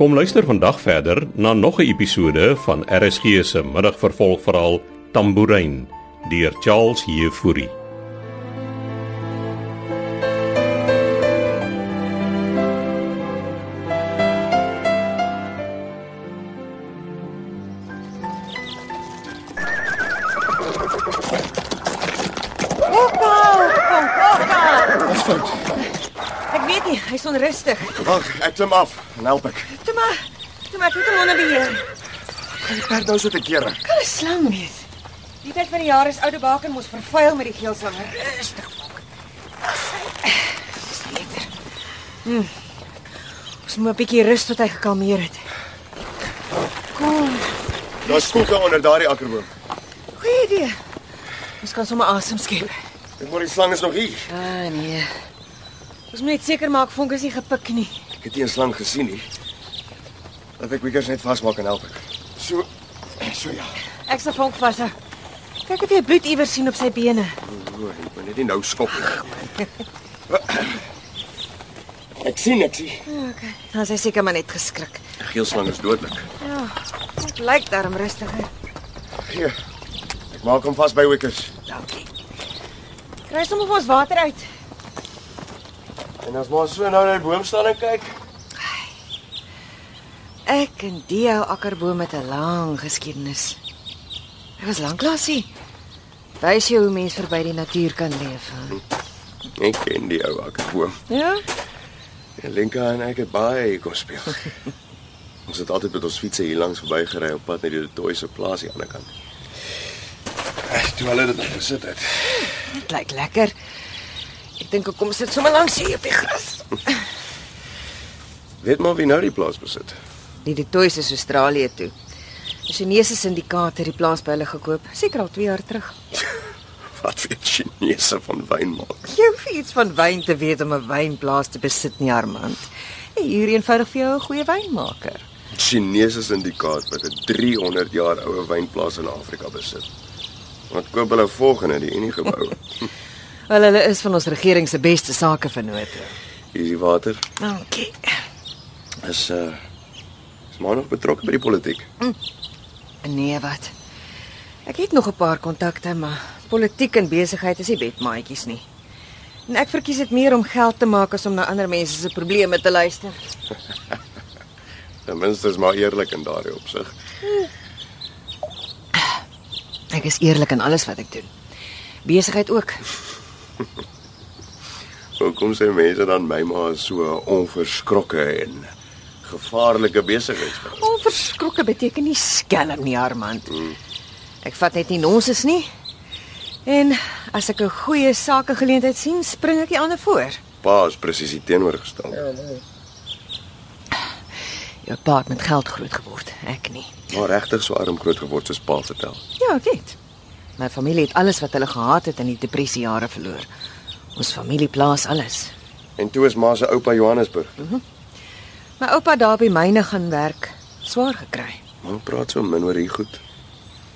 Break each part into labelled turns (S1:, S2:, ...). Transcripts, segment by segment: S1: Kom luister vandag verder na nog 'n episode van RSG se middagvervolgverhaal Tambourine deur Charles Jefouri.
S2: Ophou! Kom, ophou!
S3: Wat fout?
S2: Ek weet nie, hy's onrustig.
S3: Wag, ek klim af en help ek.
S2: Toe maar, toe maar, ek moet hom onder beheer.
S3: Gaan die perd nou so te kere.
S2: Kan 'n slang wees. Die tyd van die jaar is oude baken mos vervuil met die geelsanger. Rustig, Fok. Dis beter. Hm. Ons moet 'n bietjie rus tot hy gekalmeer het. Kom,
S3: Daar's koeke onder daardie akkerboom.
S2: goeie idee. Ons kan sommer asem skep.
S3: Ek moet die slang is nog hier.
S2: Ah nee. Ons moet net seker maak vonk is nie gepik nie.
S3: Ek het nie 'n slang gesien nie. Laat ek Wiggers net vasmaak en help ek. So so ja.
S2: Ek sal vonk vashou. Kyk of jy bloed iewers sien op sy bene.
S3: O, ek moet net nie nou skop nie. Ek sien ek sien.
S2: Okay. Dan is hy seker maar net geskrik.
S3: Die geelslang is dodelik.
S2: Ja, dit lyk darm rustiger.
S3: Hier. Ek maak hom vas by Wiggers.
S2: Dankie. Kry sommer vir ons water uit.
S3: En as maar so nou na die boom staan en kyk.
S2: Ek en die ou akkerboom het 'n lang geskiedenis. Dit was lanklaas hier. Wys jou hoe mens verby die natuur kan leef. hè?
S3: Ek ken die ou akkerboom.
S2: Ja?
S3: En Lenka en ek het baie kom speel. ons het altyd met ons fietsse hier langs verbygery op pad na die Toy se plaas aan die ander kant. Ag, Eh, toe hulle dit nog gesit het.
S2: Dit lyk lekker. Ek dink ek kom sit sommer langs hier op die gras.
S3: Weet maar wie nou die plaas besit.
S2: Die Detoys is Australië toe. 'n Chinese syndikaat het die plaas by hulle gekoop, seker al 2 jaar terug.
S3: Wat weet Chinese van wyn maak?
S2: Jy hoef nie iets van wyn te weet om 'n wynplaas te besit nie, Armand. Jy huur eenvoudig vir jou 'n goeie wynmaker.
S3: Chinese syndikaat wat 'n 300 jaar oue wynplaas in Afrika besit. Wat koop hulle volgende die Unie gebou?
S2: Wel, hulle is van ons regering se beste sakevennote.
S3: Hier is die water.
S2: Dankie.
S3: Is uh is maar nog betrokke by die politiek.
S2: Nee, wat? Ek het nog 'n paar kontakte, maar politiek en besigheid is nie bedmaatjies nie. En ek verkies dit meer om geld te maak as om na ander mense se probleme te luister.
S3: Ten minste is maar eerlik in daardie opsig.
S2: Ek is eerlik in alles wat ek doen. Besigheid ook.
S3: Hoekom sê mense dan my ma is so 'n onverskrokke en gevaarlike besigheidsvrou?
S2: Onverskrokke beteken nie skelm nie, Armand. Ek vat net nie nonsens nie. En as ek 'n goeie sakegeleentheid sien, spring ek die ander voor.
S3: Pa is presies die teenoorgestelde.
S2: Jou pa het met geld groot geword, ek nie.
S3: Maar regtig so arm groot geword soos pa vertel.
S2: Ja, ek het. My familie het alles wat hulle gehad het in die depressiejare verloor. Ons familie plaas alles.
S3: En toe is ma se oupa Johannesburg.
S2: My oupa daar by myne gaan werk, swaar gekry.
S3: Ma praat so min oor hier goed.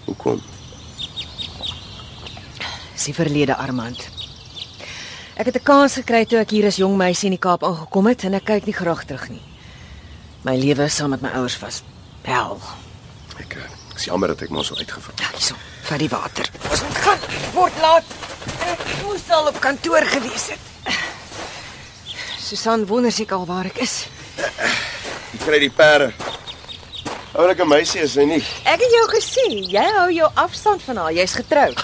S3: Hoekom?
S2: Dis die verlede, Armand. Ek het 'n kans gekry toe ek hier as jong meisie in die Kaap aangekom het en ek kyk nie graag terug nie. My lewe saam met my ouers was hel.
S3: Ek eh, ek is jammer dat ek maar so uitgevra.
S2: Ja, hierso, vat die water. Ons moet gaan. Word laat. Ek moes al op kantoor gewees het. Susan wonder seker al waar ek is.
S3: Jy kry die perde. Oulike meisie is sy nie.
S2: Ek het jou gesien. Jy hou jou afstand van haar. Jy's getroud.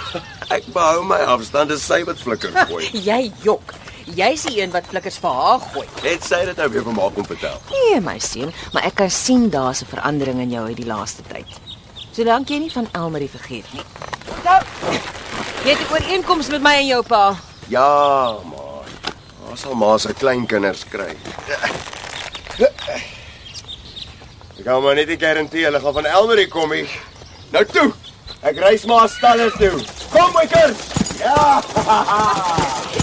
S3: Ek behou my afstand, dis sy wat flikker gooi.
S2: Jy jok. Jy's die een wat flikkers vir haar gooi.
S3: Het sy dit nou weer vir ma kom vertel?
S2: Nee, my seun, maar ek kan sien daar's 'n verandering in jou uit die laaste tyd. Solank jy nie van Elmarie vergeet nie. Nou, jy het 'n ooreenkoms met my en jou pa.
S3: Ja, ma. Ons sal maar se kleinkinders kry. Ek gaan maar net die garantie, hulle gaan van Elmarie kom hier. Nou toe. Ek reis maar stalle toe. Kom my kind. Ja.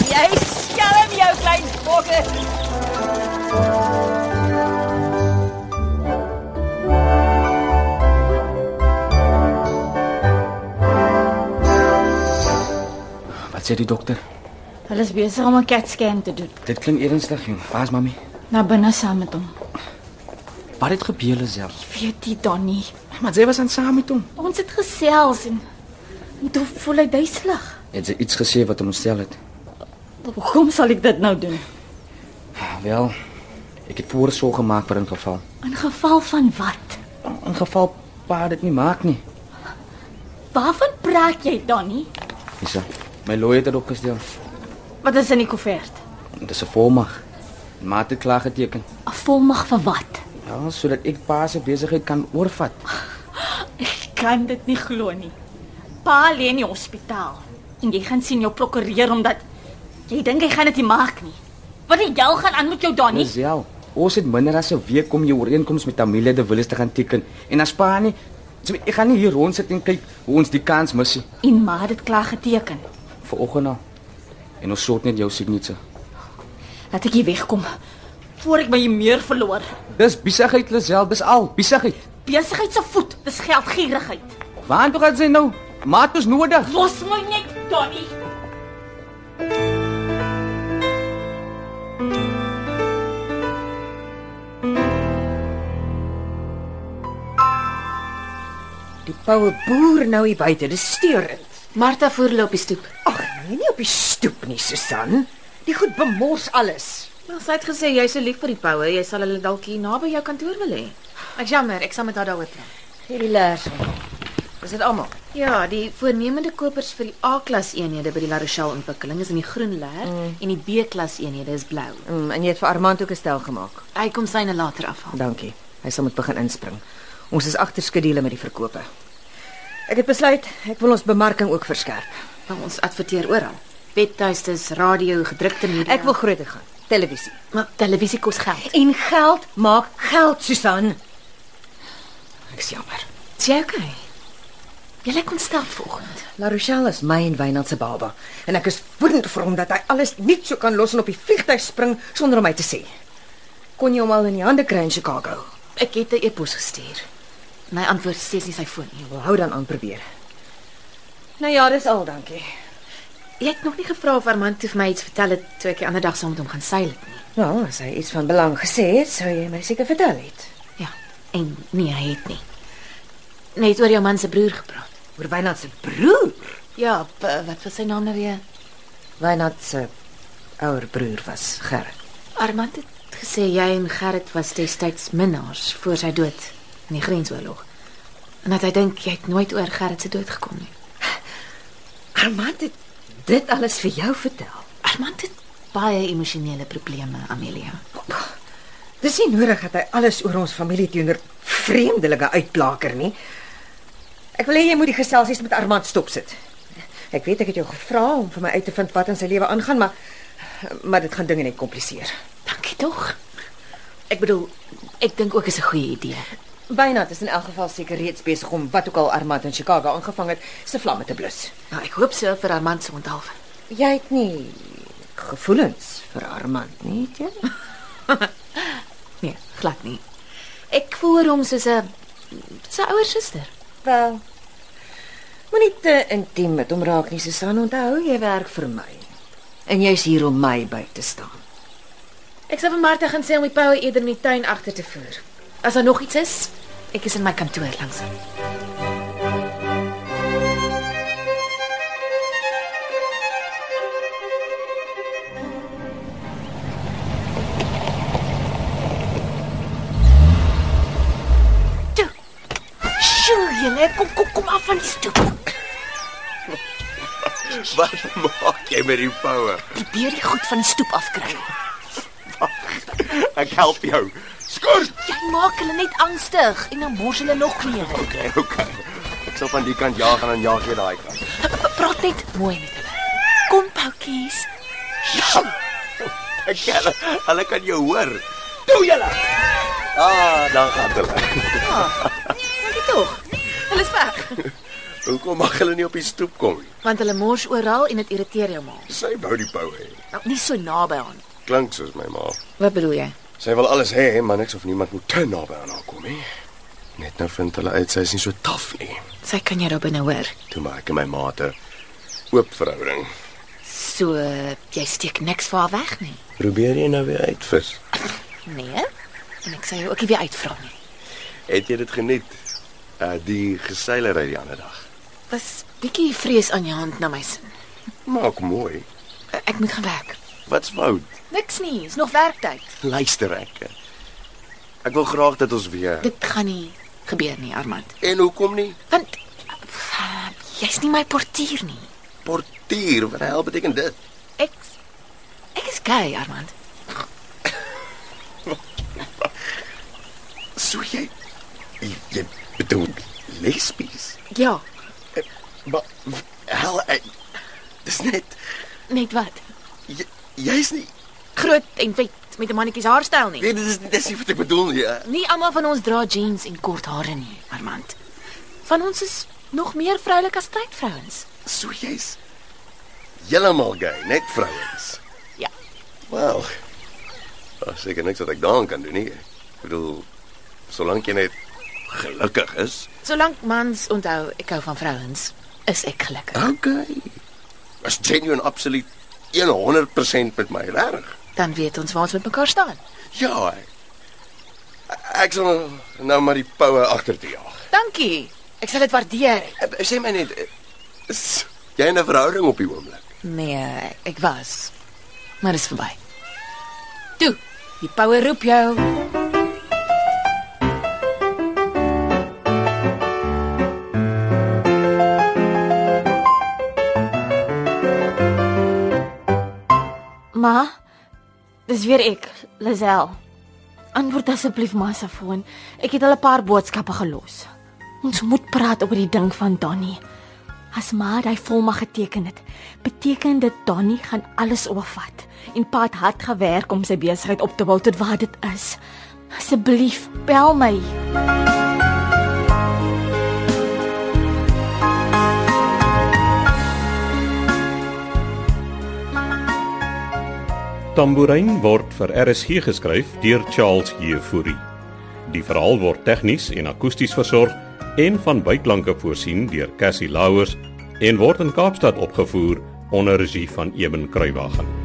S2: Jy skelm jou klein bokke.
S4: Wat sê die dokter?
S5: Hulle is besig om 'n CAT scan te doen.
S4: Dit klink ernstig, jong. Waar's mami?
S5: Na binne saam met hom.
S4: Wat het gebeur, Lisel?
S5: Weet jy dan nie.
S4: Maar sy was aan saam met hom.
S5: Ons het gesels en en toe voel hy duiselig.
S4: Het sy iets gesê wat hom ontstel het?
S5: Hoekom sal ek dit nou doen?
S4: Ja, Wel, ek het voorsorg gemaak vir 'n geval.
S5: In geval van wat?
S4: In geval pa dit nie maak nie.
S5: Waarvan praat jy dan nie?
S4: Dis my looi het dit opgestel.
S5: Wat is in die koevert?
S4: Dis 'n volmag. Ma het dit klaar geteken.
S5: 'n Volmag vir wat?
S4: Ja, sodat ek pa se besigheid kan oorvat.
S5: Ek kan dit nie glo nie. Pa lê in die hospitaal en jy gaan sien jou prokureur omdat jy dink hy gaan dit nie maak nie. Wat die hel gaan aan met jou Donnie?
S4: Lisel, ons het minder as 'n week om jou ooreenkoms met Amelia de Villiers te gaan teken. En as pa nie, so, ek gaan nie hier rond sit en kyk hoe ons die kans mis nie.
S5: En ma het dit klaar geteken.
S4: Vanoggend al. En ons sort net jou signature.
S5: Laat ek hier wegkom voor ek my meer verloor.
S4: Dis besigheid Lisel, dis al, besigheid.
S5: Besigheid se voet, dis geldgierigheid.
S4: Waar toe gaan sy nou? Maat ons nodig.
S5: Los my net, Donnie.
S2: Die poue boer nou hier buite, dis steurend.
S6: Martha voer loop die stoep.
S2: Ag, nee, nie op die stoep nie, Susan. Die goed bemors alles.
S6: Nou, sy het gesê jy's so lief vir die poue, jy sal hulle dalk hier naby jou kantoor wil hê. Ek jammer, ek sal met haar daaroor praat.
S2: Gee die leers. Is dit almal?
S6: Ja, die voornemende kopers vir die A-klas eenhede by die La Rochelle ontwikkeling is in die groen leer mm. en die B-klas eenhede is blou.
S2: Mm, en jy het vir Armand ook 'n stel gemaak.
S6: Hy kom syne later afhaal.
S2: Dankie. Hy sal moet begin inspring. Ons is agter skedule met die verkope. Ek het besluit ek wil ons bemarking ook verskerp.
S6: Maar Nou, ons adverteer oral. Webtuistes, radio, gedrukte media.
S2: Ek wil groter gaan. Televisie.
S6: maar televisie kos geld.
S2: En geld maak geld, Susan. Ek is jammer.
S6: Is jy okay? Jy lyk ontstel vanoggend.
S2: La Rochelle is my en Wynand se baba en ek is woedend vir hom dat hy alles net so kan los en op die vliegtuig spring sonder om my te sê. Kon jy hom al in die hande kry in Chicago?
S6: Ek het 'n e-pos gestuur. My antwoord is steeds nie sy foon nie.
S2: Wel, hou dan aan probeer. Nou ja, dis al, dankie.
S6: Jy het nog nie gevra of Armand toe vir my iets vertel het toe ek die ander dag saam met hom gaan seil het nie.
S2: Nou, as hy iets van belang gesê het, sou jy my seker vertel het.
S6: Ja, en nee, hy het nie. Net oor jou man se broer gepraat.
S2: Oor Wynand se broer.
S6: Ja, wat was sy naam nou weer?
S2: Wynand se ouer broer was Gerrit.
S6: Armand het gesê jy en Gerrit was destyds minnaars voor sy dood in die grensoorlog. En dat hy dink jy het nooit oor Gerrit se dood gekom nie.
S2: Armand het dit alles vir jou vertel.
S6: Armand het baie emosionele probleme, Amelia.
S2: Dis nie nodig dat hy alles oor ons familie teenoor vreemdelinge uitplaker nie. Ek wil hê jy moet die geselsies met Armand stop sit. Ek weet ek het jou gevra om vir my uit te vind wat in sy lewe aangaan, maar maar dit gaan dinge net kompliseer.
S6: Dankie tog. Ek bedoel, ek dink ook is 'n goeie idee.
S2: Wynand is in elk geval seker reeds besig om wat ook al Armand in Chicago aangevang het, se vlamme te blus.
S6: Nou, ek hoop so vir Armand se onthaalwe.
S2: Jy het nie gevoelens vir Armand nie, het jy?
S6: Nee, glad nie. Ek voel hom soos 'n sy ouer suster.
S2: Wel. Moenie te intiem met hom raak nie, Susan. Onthou, jy werk vir my. En jy's hier om my by te staan.
S6: Ek sal vir Martha gaan sê om die poue eerder in die tuin agter te voer. As daar nog iets is, ek is in my kantoor langs. aan.
S5: Toe. Sjoe, jy kom kom kom af van die stoep.
S3: Wat maak jy met die poue?
S5: Probeer die goed van die stoep afkry.
S3: Ek help jou. Skort.
S5: Jy maak hulle net angstig en dan mors hulle nog meer.
S3: Okay, okay. Ek sal van die kant jaag en dan jaag jy daai kant.
S5: Praat net mooi met hulle. Kom poutjies.
S3: Ek kan hulle kan jou hoor. Toe julle. Ah, dan gaan hulle.
S6: Dankie Ah, nou tog. Hulle is weg,
S3: Hoekom mag hulle nie op die stoep kom nie?
S6: want hulle mors oral en dit irriteer jou ma.
S3: Sy wou die poue hê.
S6: Nou, nie so naby aan. nie.
S3: Klink soos my ma.
S6: Wat bedoel jy?
S3: Sy wil alles hê, maar niks of niemand moet te naby aan haar kom nie. Net nou vind hulle uit sy is nie so taaf nie.
S6: Sy kan jou daarby nou hoor.
S3: Toe maak ek en my mate oop verhouding.
S6: So jy steek niks vir haar weg nie.
S3: Probeer jy nou weer uitvis.
S6: Nee. En ek sê jou ook nie weer uitvra nie.
S3: Het jy dit geniet? Uh die geseilery die ander dag.
S6: Was bietjie vrees aan jou hand na my sin.
S3: Maak mooi.
S6: Ek moet gaan werk.
S3: Wat's fout?
S6: Niks nie, is nog werktyd.
S3: Luister ek. Ek wil graag dat ons weer.
S6: Dit gaan nie gebeur nie, Armand.
S3: En hoekom nie?
S6: Want uh, jy's nie my portier nie.
S3: Portier, wat die hel beteken dit?
S6: Ek ek is gay, Armand.
S3: So jy jy, jy bedoel lesbies?
S6: Ja,
S3: Maar w- hel ek dis net
S6: net wat.
S3: jy, jy's nie
S6: Groot en vet met 'n mannetjie se haarstyl nie.
S3: nee, dit is dis nie wat ek bedoel nie. Ja.
S6: Nie almal van ons dra jeans en kort hare nie, Armand. Van ons is nog meer vroulik as tyd vrouens.
S3: So jy's heeltemal gay, net vrouens.
S6: Ja.
S3: Wel. Daar is seker niks wat ek daaraan kan doen nie. Ek bedoel solank jy net gelukkig is.
S6: Solank mans onthou ek hou van vrouens, is ek gelukkig.
S3: Okay. Was genuine absoluut 100% met my reg.
S6: Dan weet ons waar ons met mekaar staan.
S3: Ja. Ek, ek sal nou maar die poue agter te jaag.
S6: Dankie. Ek sal dit waardeer.
S3: Eh, Sê my net eh, is jy in 'n verhouding op die oomblik?
S6: Nee, ek was. Maar dis verby. Toe, die power roep jou.
S5: Ma, dis weer ek, Lazel. Antwoord asseblief ma se foon. Ek het al 'n paar boodskappe gelos. Ons moet praat oor die ding van Donnie. As ma daai volmag geteken het, beteken dit Donnie gaan alles oorvat. En pa het hard gewerk om sy besigheid op te bou tot waar dit is. Asseblief, bel my.
S1: Tambourin word vir RSG geskryf deur Charles Jefouri. Die verhaal word tegnies en akoesties versorg en van byklanke voorsien deur Cassie Louws en word in Kaapstad opgevoer onder regie van Eben Kruiwagen.